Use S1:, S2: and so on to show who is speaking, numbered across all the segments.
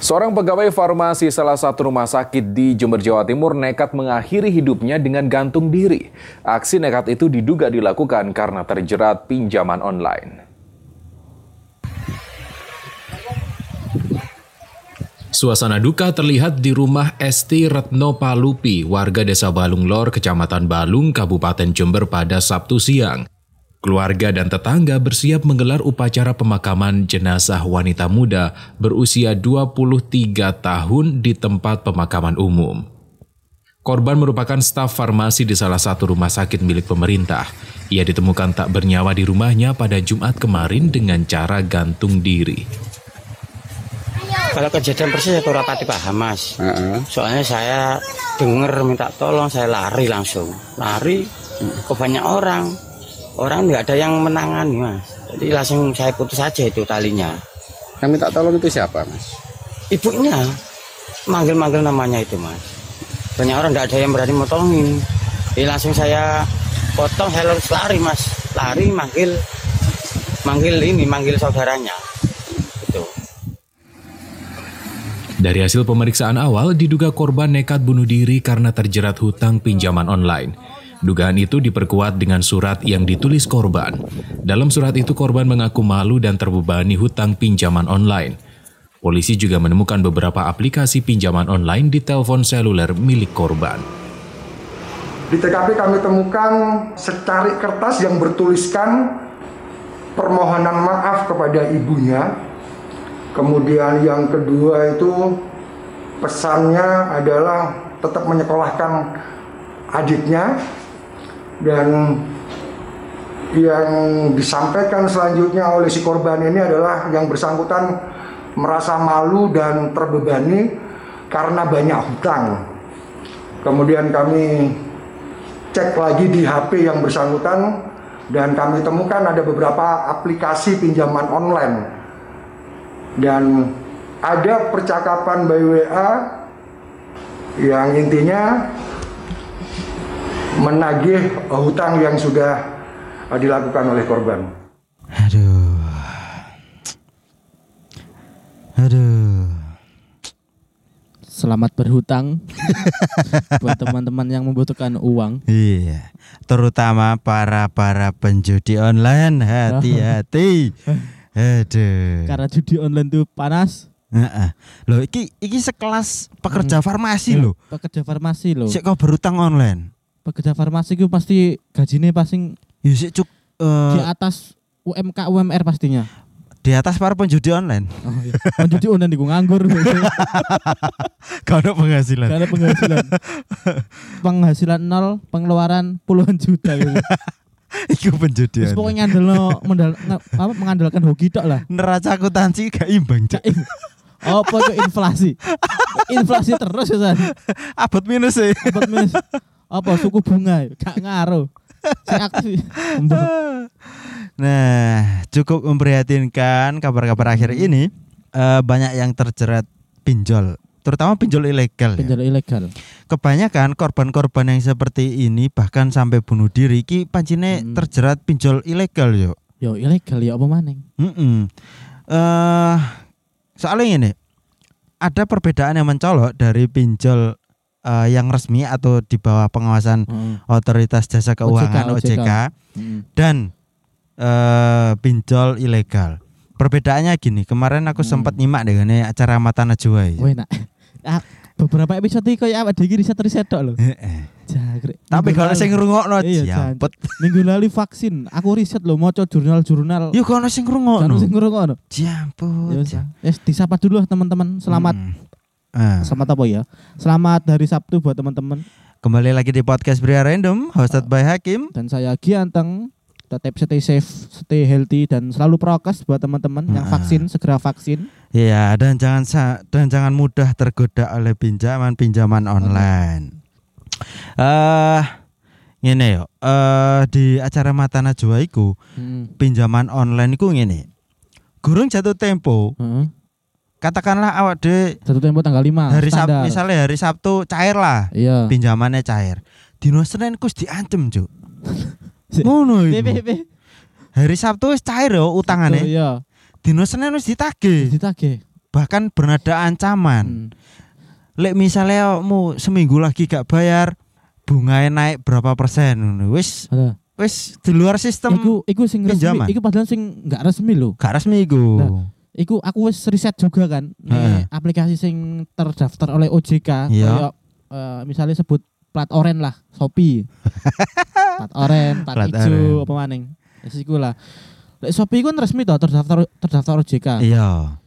S1: Seorang pegawai farmasi salah satu rumah sakit di Jember, Jawa Timur nekat mengakhiri hidupnya dengan gantung diri. Aksi nekat itu diduga dilakukan karena terjerat pinjaman online.
S2: Suasana duka terlihat di rumah Esti Retno Palupi, warga desa Balung Lor, kecamatan Balung, Kabupaten Jember pada Sabtu siang. Keluarga dan tetangga bersiap menggelar upacara pemakaman jenazah wanita muda berusia 23 tahun di tempat pemakaman umum. Korban merupakan staf farmasi di salah satu rumah sakit milik pemerintah. Ia ditemukan tak bernyawa di rumahnya pada Jumat kemarin dengan cara gantung diri.
S3: Kalau kejadian persis aku rapati paham mas. Soalnya saya dengar minta tolong, saya lari langsung. Lari ke banyak orang. Orang nggak ada yang menangani mas. Jadi langsung saya putus aja itu talinya.
S4: Yang minta tolong itu siapa, Mas?
S3: Ibunya manggil-manggil namanya itu mas. Banyak orang nggak ada yang berani mau tolongin. Jadi langsung saya potong, saya harus lari mas. Lari manggil, manggil ini, manggil saudaranya. Gitu.
S2: Dari hasil pemeriksaan awal, diduga korban nekat bunuh diri karena terjerat hutang pinjaman online. Dugaan itu diperkuat dengan surat yang ditulis korban. Dalam surat itu, korban mengaku malu dan terbebani hutang pinjaman online. Polisi juga menemukan beberapa aplikasi pinjaman online di telepon seluler milik korban.
S5: Di TKP kami temukan secari kertas yang bertuliskan permohonan maaf kepada ibunya. Kemudian yang kedua itu pesannya adalah tetap menyekolahkan adiknya dan yang disampaikan selanjutnya oleh si korban ini adalah yang bersangkutan merasa malu dan terbebani karena banyak hutang. Kemudian kami cek lagi di HP yang bersangkutan dan kami temukan ada beberapa aplikasi pinjaman online dan ada percakapan by WA yang intinya menagih hutang yang sudah eh, dilakukan oleh korban.
S3: Aduh. Aduh.
S6: Selamat berhutang buat teman-teman yang membutuhkan uang.
S7: Iya, terutama para para penjudi online hati-hati. Aduh.
S6: Karena judi online tuh panas.
S7: Heeh. Loh, iki iki sekelas pekerja farmasi loh.
S6: Pekerja farmasi loh.
S7: Sik kau berutang online.
S6: Pekerja farmasi itu pasti gajinya pasti
S7: Ya sik cuk eh,
S6: di atas UMK UMR pastinya.
S7: di atas para penjudi online.
S6: Oh, iya. Menjudi online itu nganggur.
S7: Gak ada penghasilan.
S6: Karena penghasilan penghasilan nol, pengeluaran puluhan juta gitu.
S7: Iya, Iku penjudi online.
S6: Terus pokoknya ngandel mendal, nge- apa, mengandalkan hoki tok lah.
S7: Neraca akuntansi gak imbang, Cuk.
S6: Oh, pokoknya inflasi. inflasi terus ya, San.
S7: Abot minus e. sih.
S6: Apa, Miss? Apa suku bunga? Gak ngaruh. Saya aksi.
S7: Nah, cukup memprihatinkan kabar-kabar akhir ini Eh, banyak yang terjerat pinjol, terutama pinjol ilegal. ya.
S6: Penjara ilegal.
S7: Kebanyakan korban-korban yang seperti ini bahkan sampai bunuh diri ki pancine
S6: Hmm.
S7: terjerat pinjol ilegal yo.
S6: Yo ilegal ya apa maning?
S7: Heeh. Eh, soalnya ini ada perbedaan yang mencolok dari pinjol eh, yang resmi atau di bawah pengawasan
S6: Heeh.
S7: otoritas jasa keuangan Hmm. OJK,
S6: OJK.
S7: Hmm. dan eh pinjol ilegal. Perbedaannya gini, kemarin aku
S6: Hmm.
S7: sempat nyimak deh ini acara Mata Najwa. ya.
S6: Wah, enak. Ah, beberapa episode iki koyo awak dhewe riset-riset tok lho.
S7: Heeh.
S6: Jagre.
S7: Eh, Tapi
S6: Minggu
S7: kalau
S6: lalu-
S7: sing ya ngrungokno
S6: Iya, Jan.
S7: jampet.
S6: minggu lalu vaksin, aku riset lho maca jurnal-jurnal.
S7: Yuk kalau sing
S6: Jangan sing
S7: ngrungokno.
S6: ngono.
S7: Jampet.
S6: Ya wis,
S7: jam-
S6: Yes, disapa dulu lah teman-teman. Selamat
S7: Mm. Ah.
S6: selamat apa ya? Selamat hari Sabtu buat teman-teman
S7: Kembali lagi di podcast Bria Random hosted by Hakim.
S6: dan saya Gianteng. Tetap stay safe, stay healthy dan selalu prokes buat teman-teman yang
S7: Ah.
S6: vaksin segera vaksin.
S7: Iya, dan jangan sa- dan jangan mudah tergoda oleh pinjaman-pinjaman online. Eh ngene yo. Eh di acara Mata Najwa iku
S6: Hmm.
S7: pinjaman online iku ngene. Gurung jatuh tempo,
S6: Heeh.
S7: katakanlah awak de
S6: Satu tempo tanggal 5
S7: hari Sabtu misalnya hari Sabtu cair lah,
S6: Ah, Iya.
S7: pinjamannya cair. Dino Senin kus diancem, Cuk.
S6: Si-
S7: Ngono iku.
S6: PPP.
S7: Hari Sabtu wis cair yo utangane.
S6: Iya.
S7: Dino Senin wis ditagih.
S6: Ditagih.
S7: bahkan bernada ancaman.
S6: Hmm.
S7: Lek misalnya mu seminggu lagi gak bayar, bunganya naik berapa persen? ngono. Wis
S6: Ada.
S7: wis di luar sistem
S6: Iku iku sing
S7: pinjaman.
S6: resmi, iku padahal sing nggak resmi loh.
S7: gak resmi iku.
S6: Nah, Iku aku wis riset juga kan. Nih, aplikasi sing terdaftar oleh OJK
S7: Iya.
S6: kayak, eh, misalnya sebut plat oren lah, Shopee. plat oren, plat,
S7: Plat
S6: ijo
S7: oren.
S6: apa maning. Wis iku lah. Lek Shopee kan resmi toh terdaftar terdaftar OJK.
S7: Iya.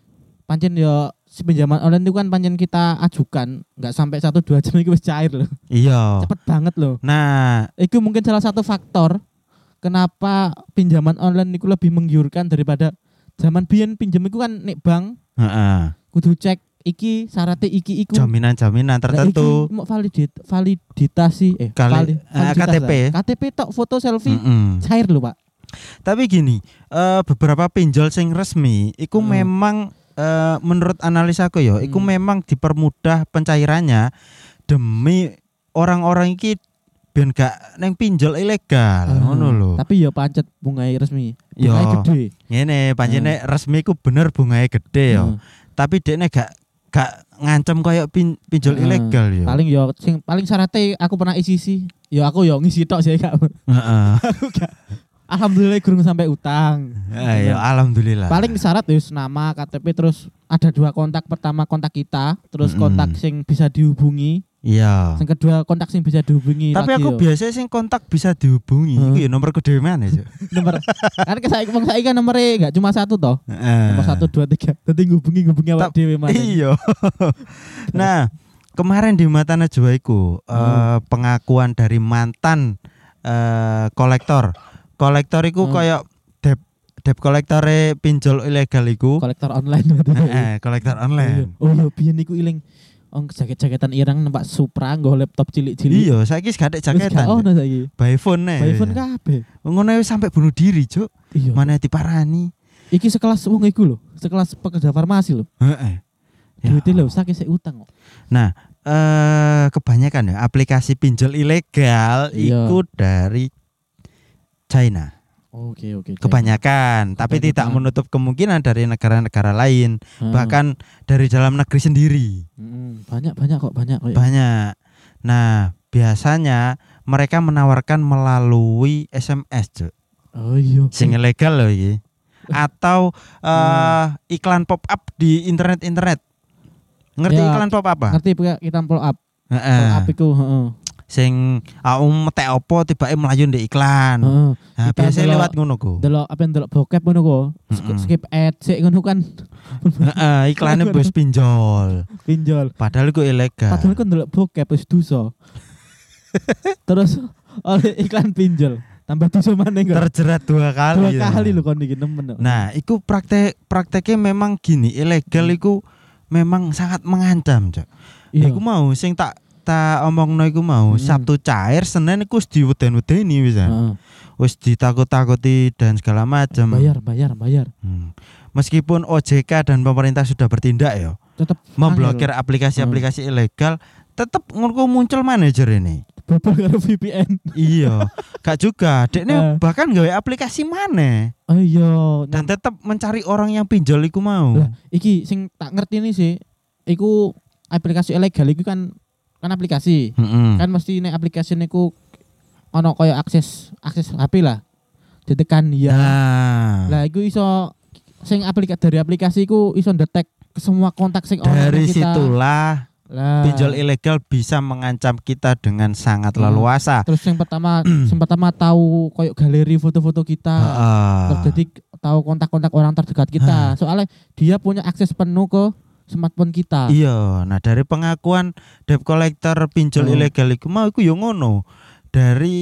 S6: Pancen yo si pinjaman online itu kan pancen kita ajukan nggak sampai satu dua jam itu wis cair loh
S7: Iya.
S6: cepet banget loh
S7: Nah,
S6: itu mungkin salah satu faktor kenapa pinjaman online itu lebih menggiurkan daripada zaman biyen pinjam itu kan nek bank
S7: heeh.
S6: kudu cek iki syaratnya iki iku
S7: jaminan-jaminan
S6: Lah,
S7: tertentu.
S6: iki mau validit validitasi eh
S7: Kali- eh,
S6: validitas
S7: KTP.
S6: lah. KTP tok foto selfie
S7: Mm-mm.
S6: cair lho Pak
S7: Tapi gini, eh, beberapa pinjol sing resmi iku
S6: Hmm.
S7: memang eh, menurut analisaku yo, iku
S6: Hmm.
S7: memang dipermudah pencairannya demi orang-orang iki ben gak neng pinjol ilegal
S6: Ah,
S7: ngono lho. Ya,
S6: tapi ya pancet bungai resmi
S7: Yo.
S6: bungai gede
S7: Ngene pancene
S6: Mm.
S7: resmi ku bener bungae gede yo.
S6: Hmm.
S7: Tapi dekne gak gak ngancem koyo pin- pinjol
S6: Hmm.
S7: ilegal ya. yo.
S6: paling yo sing paling syaratnya aku pernah isi sih yo aku yo ngisi tok sih Kak.
S7: Heeh.
S6: alhamdulillah kurang sampai utang
S7: Ya, ya, alhamdulillah.
S6: paling syarat ya nama KTP terus ada dua kontak pertama kontak kita terus
S7: Mm-mm.
S6: kontak sing bisa dihubungi
S7: iya.
S6: yang kedua kontak sing bisa dihubungi
S7: Tapi
S6: lagi ya.
S7: aku
S6: yo.
S7: biasanya sing kontak bisa dihubungi.
S6: Hmm.
S7: Iku ya nomorku dhewe mana, Cuk.
S6: nomor kan saya wong saiki kan nomornya enggak cuma satu toh nomor
S7: Heeh.
S6: satu dua tiga nanti ngubungi ngubungi awak
S7: Tap-
S6: dhewe maning.
S7: Iya. nah, kemarin di Mata Najwa iku eh,
S6: Hmm.
S7: pengakuan dari mantan eh, kolektor. Kolektor iku
S6: Hmm.
S7: koyo dep dep kolektore pinjol ilegal iku.
S6: kolektor online berarti.
S7: Eh, eh, kolektor online.
S6: oh iya biyen niku iling Ong jaket-jaketan irang nempak Supra nggo laptop cilik-cilik.
S7: Iya, saiki wis gak ada
S6: Jaketan. Oh,
S7: jaketan. Eh. Cuk.
S6: saiki.
S7: By phone nih.
S6: By phone kabeh.
S7: Ngono wis sampai bunuh diri, Cuk.
S6: Iya.
S7: Mana diparani.
S6: Iki sekelas wong iku lho, sekelas pekerja farmasi lho.
S7: Heeh. Ya.
S6: Duitnya lho sakit sik utang kok.
S7: Nah, eh kebanyakan ya aplikasi pinjol ilegal
S6: Iya.
S7: itu dari China.
S6: Oke, oke.
S7: Kebanyakan, tapi
S6: Kebanyakan.
S7: tidak menutup kemungkinan dari negara-negara lain,
S6: Hmm.
S7: bahkan dari dalam negeri sendiri.
S6: Mm, banyak banyak kok banyak kok. ya.
S7: Banyak. Nah, biasanya mereka menawarkan melalui SMS, Cuk.
S6: oh iya.
S7: Sing ilegal loh iki. Atau eh,
S6: Hmm.
S7: iklan pop-up di internet-internet. Ngerti
S6: Ya,
S7: iklan pop-up apa?
S6: Ngerti Pak, kita follow up.
S7: Heeh.
S6: Follow up iku, heeh.
S7: sing aku metek opo tibake melayu ndek iklan.
S6: Heeh.
S7: Nah,
S6: Kita
S7: biasanya
S6: ndelok-
S7: lewat ngono ku.
S6: Delok apa delok bokep ngono kok.
S7: Mm-mm.
S6: Skip ad sik ngono kan
S7: Heeh, iklannya bos pinjol. Ya.
S6: pinjol.
S7: Padahal iku ilegal.
S6: Padahal kan delok bokep wis dosa. Terus oleh iklan pinjol tambah dosa maneh kok.
S7: Terjerat dua
S6: Dua
S7: kali. ya.
S6: kali lho kon iki nemen. kok.
S7: Nah, iku praktek prakteknya memang gini, ilegal iku memang sangat mengancam, Cok.
S6: Hmm. Iya.
S7: Iku mau sing tak tak omongno iku mau
S6: Mm.
S7: Sabtu cair, Senin iku wis diweden-wedeni wis. ya.
S6: Heeh.
S7: Wis ditakut-takuti dan segala macam.
S6: Bayar, bayar, bayar.
S7: Hmm. Meskipun OJK dan pemerintah sudah bertindak ya.
S6: Tetep
S7: memblokir
S6: angel. Hmm.
S7: aplikasi-aplikasi ilegal tetap ngono muncul manajer ini
S6: bobol karo VPN.
S7: iya gak juga dekne
S6: Eh.
S7: bahkan gawe aplikasi mana
S6: Oh iya.
S7: dan tetap mencari orang yang pinjol iku mau
S6: Lah, iki sing tak ngerti nih sih. Iku aplikasi ilegal iku kan kan aplikasi.
S7: Mm-mm.
S6: Kan mesti nek aplikasi niku ono koyo akses akses HP lah. Ditekan ya.
S7: Nah,
S6: Lah iku iso sing aplikasi dari aplikasi iku iso detek semua kontak sing ono
S7: dari
S6: kita. Nah.
S7: situlah
S6: Lah,
S7: pinjol e. ilegal bisa mengancam kita dengan sangat
S6: Hmm.
S7: leluasa
S6: Terus yang pertama yang pertama tahu koyo galeri foto-foto kita.
S7: Heeh.
S6: Terus jadi tahu kontak-kontak orang terdekat
S7: Ah.
S6: kita. Soalnya dia punya akses penuh ke smartphone kita.
S7: Iya, nah dari pengakuan debt collector pinjol
S6: Hmm.
S7: ilegal iku mau iku yo ngono. Dari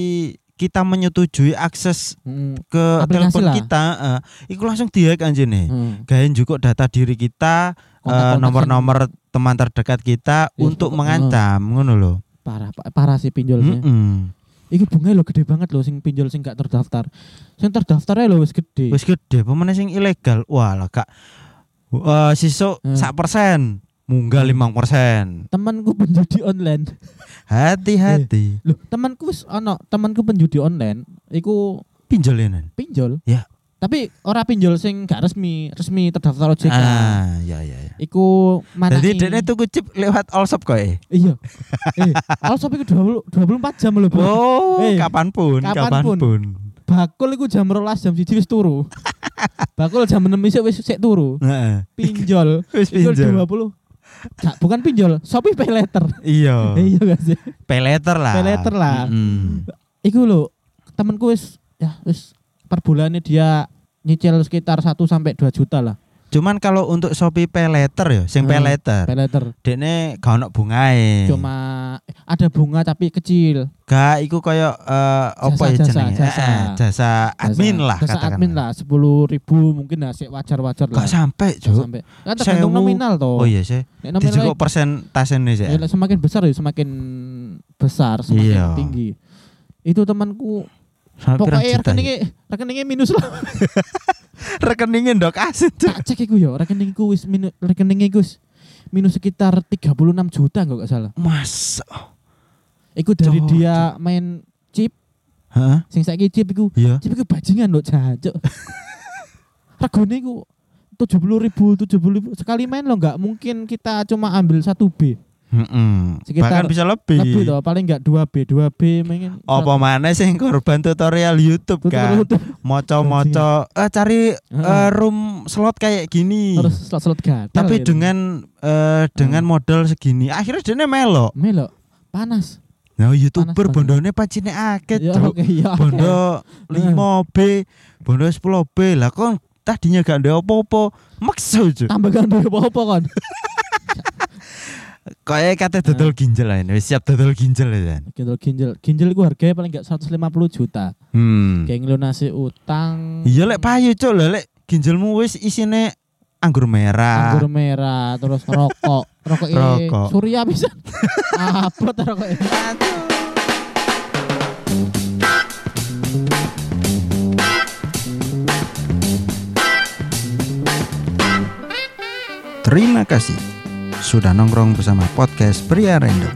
S7: kita menyetujui akses
S6: Mm,
S7: ke
S6: Aplikasi
S7: telepon
S6: lah.
S7: kita, eh, iku langsung dihack anjene.
S6: mm.
S7: Gawe juga data diri kita, eh,
S6: Kontak-kontak sing-
S7: nomor-nomor teman terdekat kita
S6: Iya,
S7: untuk
S6: kontak-
S7: mengancam ngono loh.
S6: parah pa- parah sih pinjolnya.
S7: Mm-mm.
S6: Iku bunga lo gede banget lo sing pinjol sing gak terdaftar. Sing terdaftarnya lo wis gede.
S7: Wis gede pemene sing ilegal. Wah, lah Kak. Eh, sisuk
S6: Hmm.
S7: sak persen, munggah limang persen.
S6: Temanku penjudi online.
S7: Hati-hati,
S6: Iya. Loh, temanku wis ono, temanku penjudi online iku
S7: pinjol ya, ini.
S6: pinjol.
S7: Ya.
S6: Tapi ora pinjol sing gak resmi, resmi terdaftar OJK.
S7: Ah, ya ya ya.
S6: Iku mana?
S7: Jadi dene tuku chip lewat Allshop kok eh.
S6: Iya. Eh, Allshop iku 20 24 jam lho, Bro.
S7: Oh,
S6: Eh,
S7: kapanpun,
S6: kapanpun. Bakul iku jam 12 jam 1 wis turu. Bakul jam 6 isuk wis sik turu.
S7: Heeh.
S6: Pinjol.
S7: Wis
S6: Iku
S7: pinjol.
S6: 20. Gak, bukan pinjol, Shopee pay letter.
S7: Iya.
S6: Eh, iya gak sih?
S7: Pay letter lah.
S6: Pay letter lah.
S7: Mm-mm.
S6: Iku lho, temenku wis ya wis per bulannya dia nyicil sekitar 1 sampai 2 juta lah.
S7: Cuman kalau untuk Shopee pay letter ya, sing pay
S6: Hmm,
S7: letter.
S6: Pay letter.
S7: Dene gak ono bungae.
S6: Cuma eh, ada bunga tapi kecil.
S7: gak iku koyo eh, apa ya
S6: Jasa, jasa,
S7: jenenge?
S6: jasa.
S7: Eh, eh, jasa admin
S6: Jasa-
S7: lah
S6: jasa
S7: katakan.
S6: admin lah 10 ribu mungkin lah sik wajar-wajar lah.
S7: Gak sampai,
S6: Gak
S7: Cuk.
S6: sampai. Kan tergantung
S7: Sewu.
S6: nominal
S7: Oh
S6: toh.
S7: iya sih.
S6: Nek
S7: Dijukuk
S6: nominalnya-
S7: persentasenya sih.
S6: ya, lek semakin besar ya semakin besar, semakin
S7: Iya.
S6: tinggi. Itu temanku
S7: Sampai pirang
S6: pokoknya
S7: juta ya.
S6: rekeningnya rekeningnya minus lah.
S7: rekeningnya ndok asin. Cuk.
S6: tak cek iku ya, rekeningku wis minus rekeningnya iku wis minus sekitar 36 juta kalau gak salah.
S7: Mas.
S6: Iku dari
S7: Cok,
S6: dia main chip,
S7: Heeh.
S6: sing saiki chip iku
S7: Iya.
S6: Tapi gue bajingan loh jahat. Cuk. Regane ku tujuh puluh ribu, tujuh ribu sekali main lo nggak mungkin kita cuma ambil satu b,
S7: Mm-mm.
S6: Sekitar
S7: Bahkan bisa lebih.
S6: lebih toh paling nggak dua b, dua b mungkin.
S7: Oh, Apa mana sih korban tutorial YouTube kan? Moco-moco eh cari eh, room slot kayak gini.
S6: harus slot slot gatel.
S7: Tapi
S6: gitu.
S7: dengan eh, dengan
S6: Hmm.
S7: modal segini akhirnya dene melo.
S6: melo panas.
S7: Nah, YouTuber
S6: Panas banget.
S7: bondone pacine akeh,
S6: Ya
S7: Cuk.
S6: oke, ya. oke. Hmm.
S7: Bondo 5B, bondo 10B. Lah kon tadinya gak ada apa-apa. Maksa Cuk.
S6: Tambah gandul apa apa kan?
S7: Kayak kate
S6: Hmm.
S7: dodol ginjal lah ini. Wis siap dodol ginjal ya. Jan.
S6: Gitu ginjal, ginjal gue harganya paling nggak 150 juta.
S7: Hmm.
S6: Kayak ngelunasi utang.
S7: Iya lek payu Cuk, lah lek ginjalmu wis isine anggur merah.
S6: anggur merah terus rokok rokok ini
S7: Rokok.
S6: surya bisa apa tuh rokok ini
S7: Terima kasih sudah nongkrong bersama podcast Pria Random.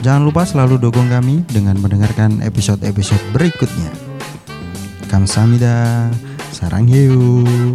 S7: Jangan lupa selalu dukung kami dengan mendengarkan episode-episode berikutnya. Kamsahamnida, sarang hiu.